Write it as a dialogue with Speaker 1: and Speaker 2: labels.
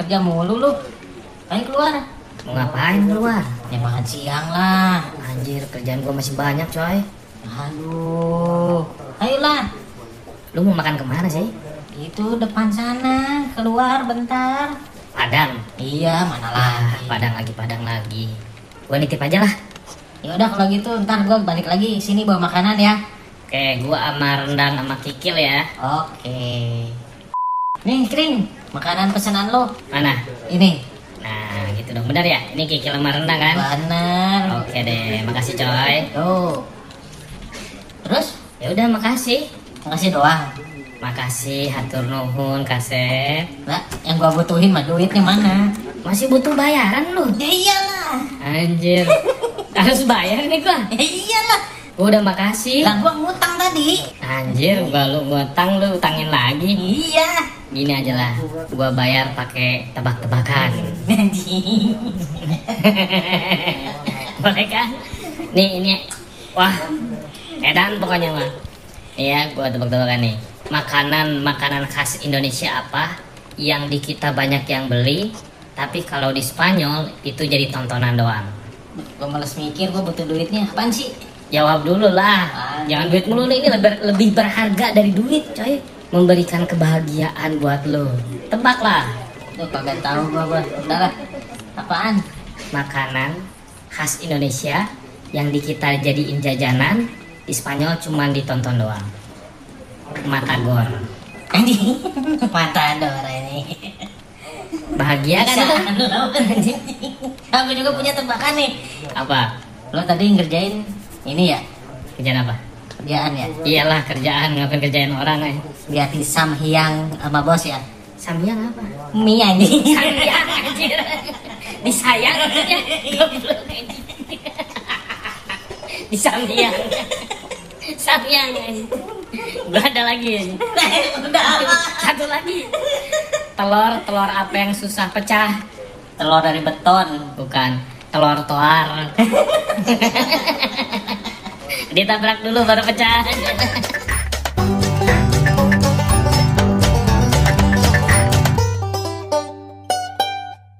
Speaker 1: kerja mulu lu. Ayo keluar.
Speaker 2: Mau ngapain keluar?
Speaker 1: Ya makan siang lah.
Speaker 2: Anjir, kerjaan gua masih banyak, coy.
Speaker 1: Aduh. Ayolah.
Speaker 2: Lu mau makan kemana sih?
Speaker 1: Itu depan sana. Keluar bentar.
Speaker 2: Padang.
Speaker 1: Iya, mana
Speaker 2: Ah,
Speaker 1: lagi.
Speaker 2: padang lagi, padang lagi. Gua nitip aja lah.
Speaker 1: Ya udah kalau gitu ntar gua balik lagi sini bawa makanan ya.
Speaker 2: Oke, gua sama rendang sama kikil ya.
Speaker 1: Oke. Nih, Kring, makanan pesanan lo.
Speaker 2: Mana?
Speaker 1: Ini.
Speaker 2: Nah, gitu dong. Benar ya? Ini kikil sama rendang kan?
Speaker 1: Bener.
Speaker 2: Oke deh, makasih coy.
Speaker 1: Tuh. Terus?
Speaker 2: Ya udah, makasih.
Speaker 1: Makasih doang.
Speaker 2: Makasih, hatur nuhun, kasep.
Speaker 1: Lah, yang gua butuhin mah duitnya mana?
Speaker 2: Masih butuh bayaran lu?
Speaker 1: Ya iyalah.
Speaker 2: Anjir. Harus bayar nih gua.
Speaker 1: Ya iyalah.
Speaker 2: Gua udah makasih.
Speaker 1: Lah gua ngutang tadi.
Speaker 2: Anjir, gua lu ngutang lu utangin lagi.
Speaker 1: Iya.
Speaker 2: Gini aja lah, gua bayar pakai tebak-tebakan.
Speaker 1: Nanti.
Speaker 2: Boleh kan? Nih ini, wah, edan pokoknya mah. Iya, gua tebak-tebakan nih. Makanan makanan khas Indonesia apa yang di kita banyak yang beli, tapi kalau di Spanyol itu jadi tontonan doang.
Speaker 1: Gua males mikir gua butuh duitnya. Apaan sih?
Speaker 2: Jawab dulu lah, jangan duit mulu ini lebih, lebih berharga dari duit, coy. Memberikan kebahagiaan buat lo. Tebak lah.
Speaker 1: Lu kagak tahu gua gua. Udah lah. Apaan?
Speaker 2: makanan khas Indonesia yang di kita jadiin jajanan di Spanyol cuman ditonton doang. Matagor.
Speaker 1: Anjing. Mata ada orang ini.
Speaker 2: Bahagia kan itu?
Speaker 1: Bisa lu, anjing. Aku juga punya tebakan nih.
Speaker 2: Apa?
Speaker 1: Lo tadi ngerjain ini ya?
Speaker 2: Kerjaan apa?
Speaker 1: Kerjaan ya?
Speaker 2: Iyalah kerjaan, ngapain kerjaan orang eh.
Speaker 1: Berarti Sam Hyang sama bos ya?
Speaker 2: Sambiang apa?
Speaker 1: Mie anjing.
Speaker 2: Sambiang anjir. Disayang. Goblok, anjing. Di Sambiang. Sambiang. anjing. Gua ada lagi. anjing.
Speaker 1: Udah apa?
Speaker 2: Satu lagi. Telur, telur apa yang susah pecah?
Speaker 1: Telur dari beton.
Speaker 2: Bukan telur toar. Ditabrak dulu baru pecah.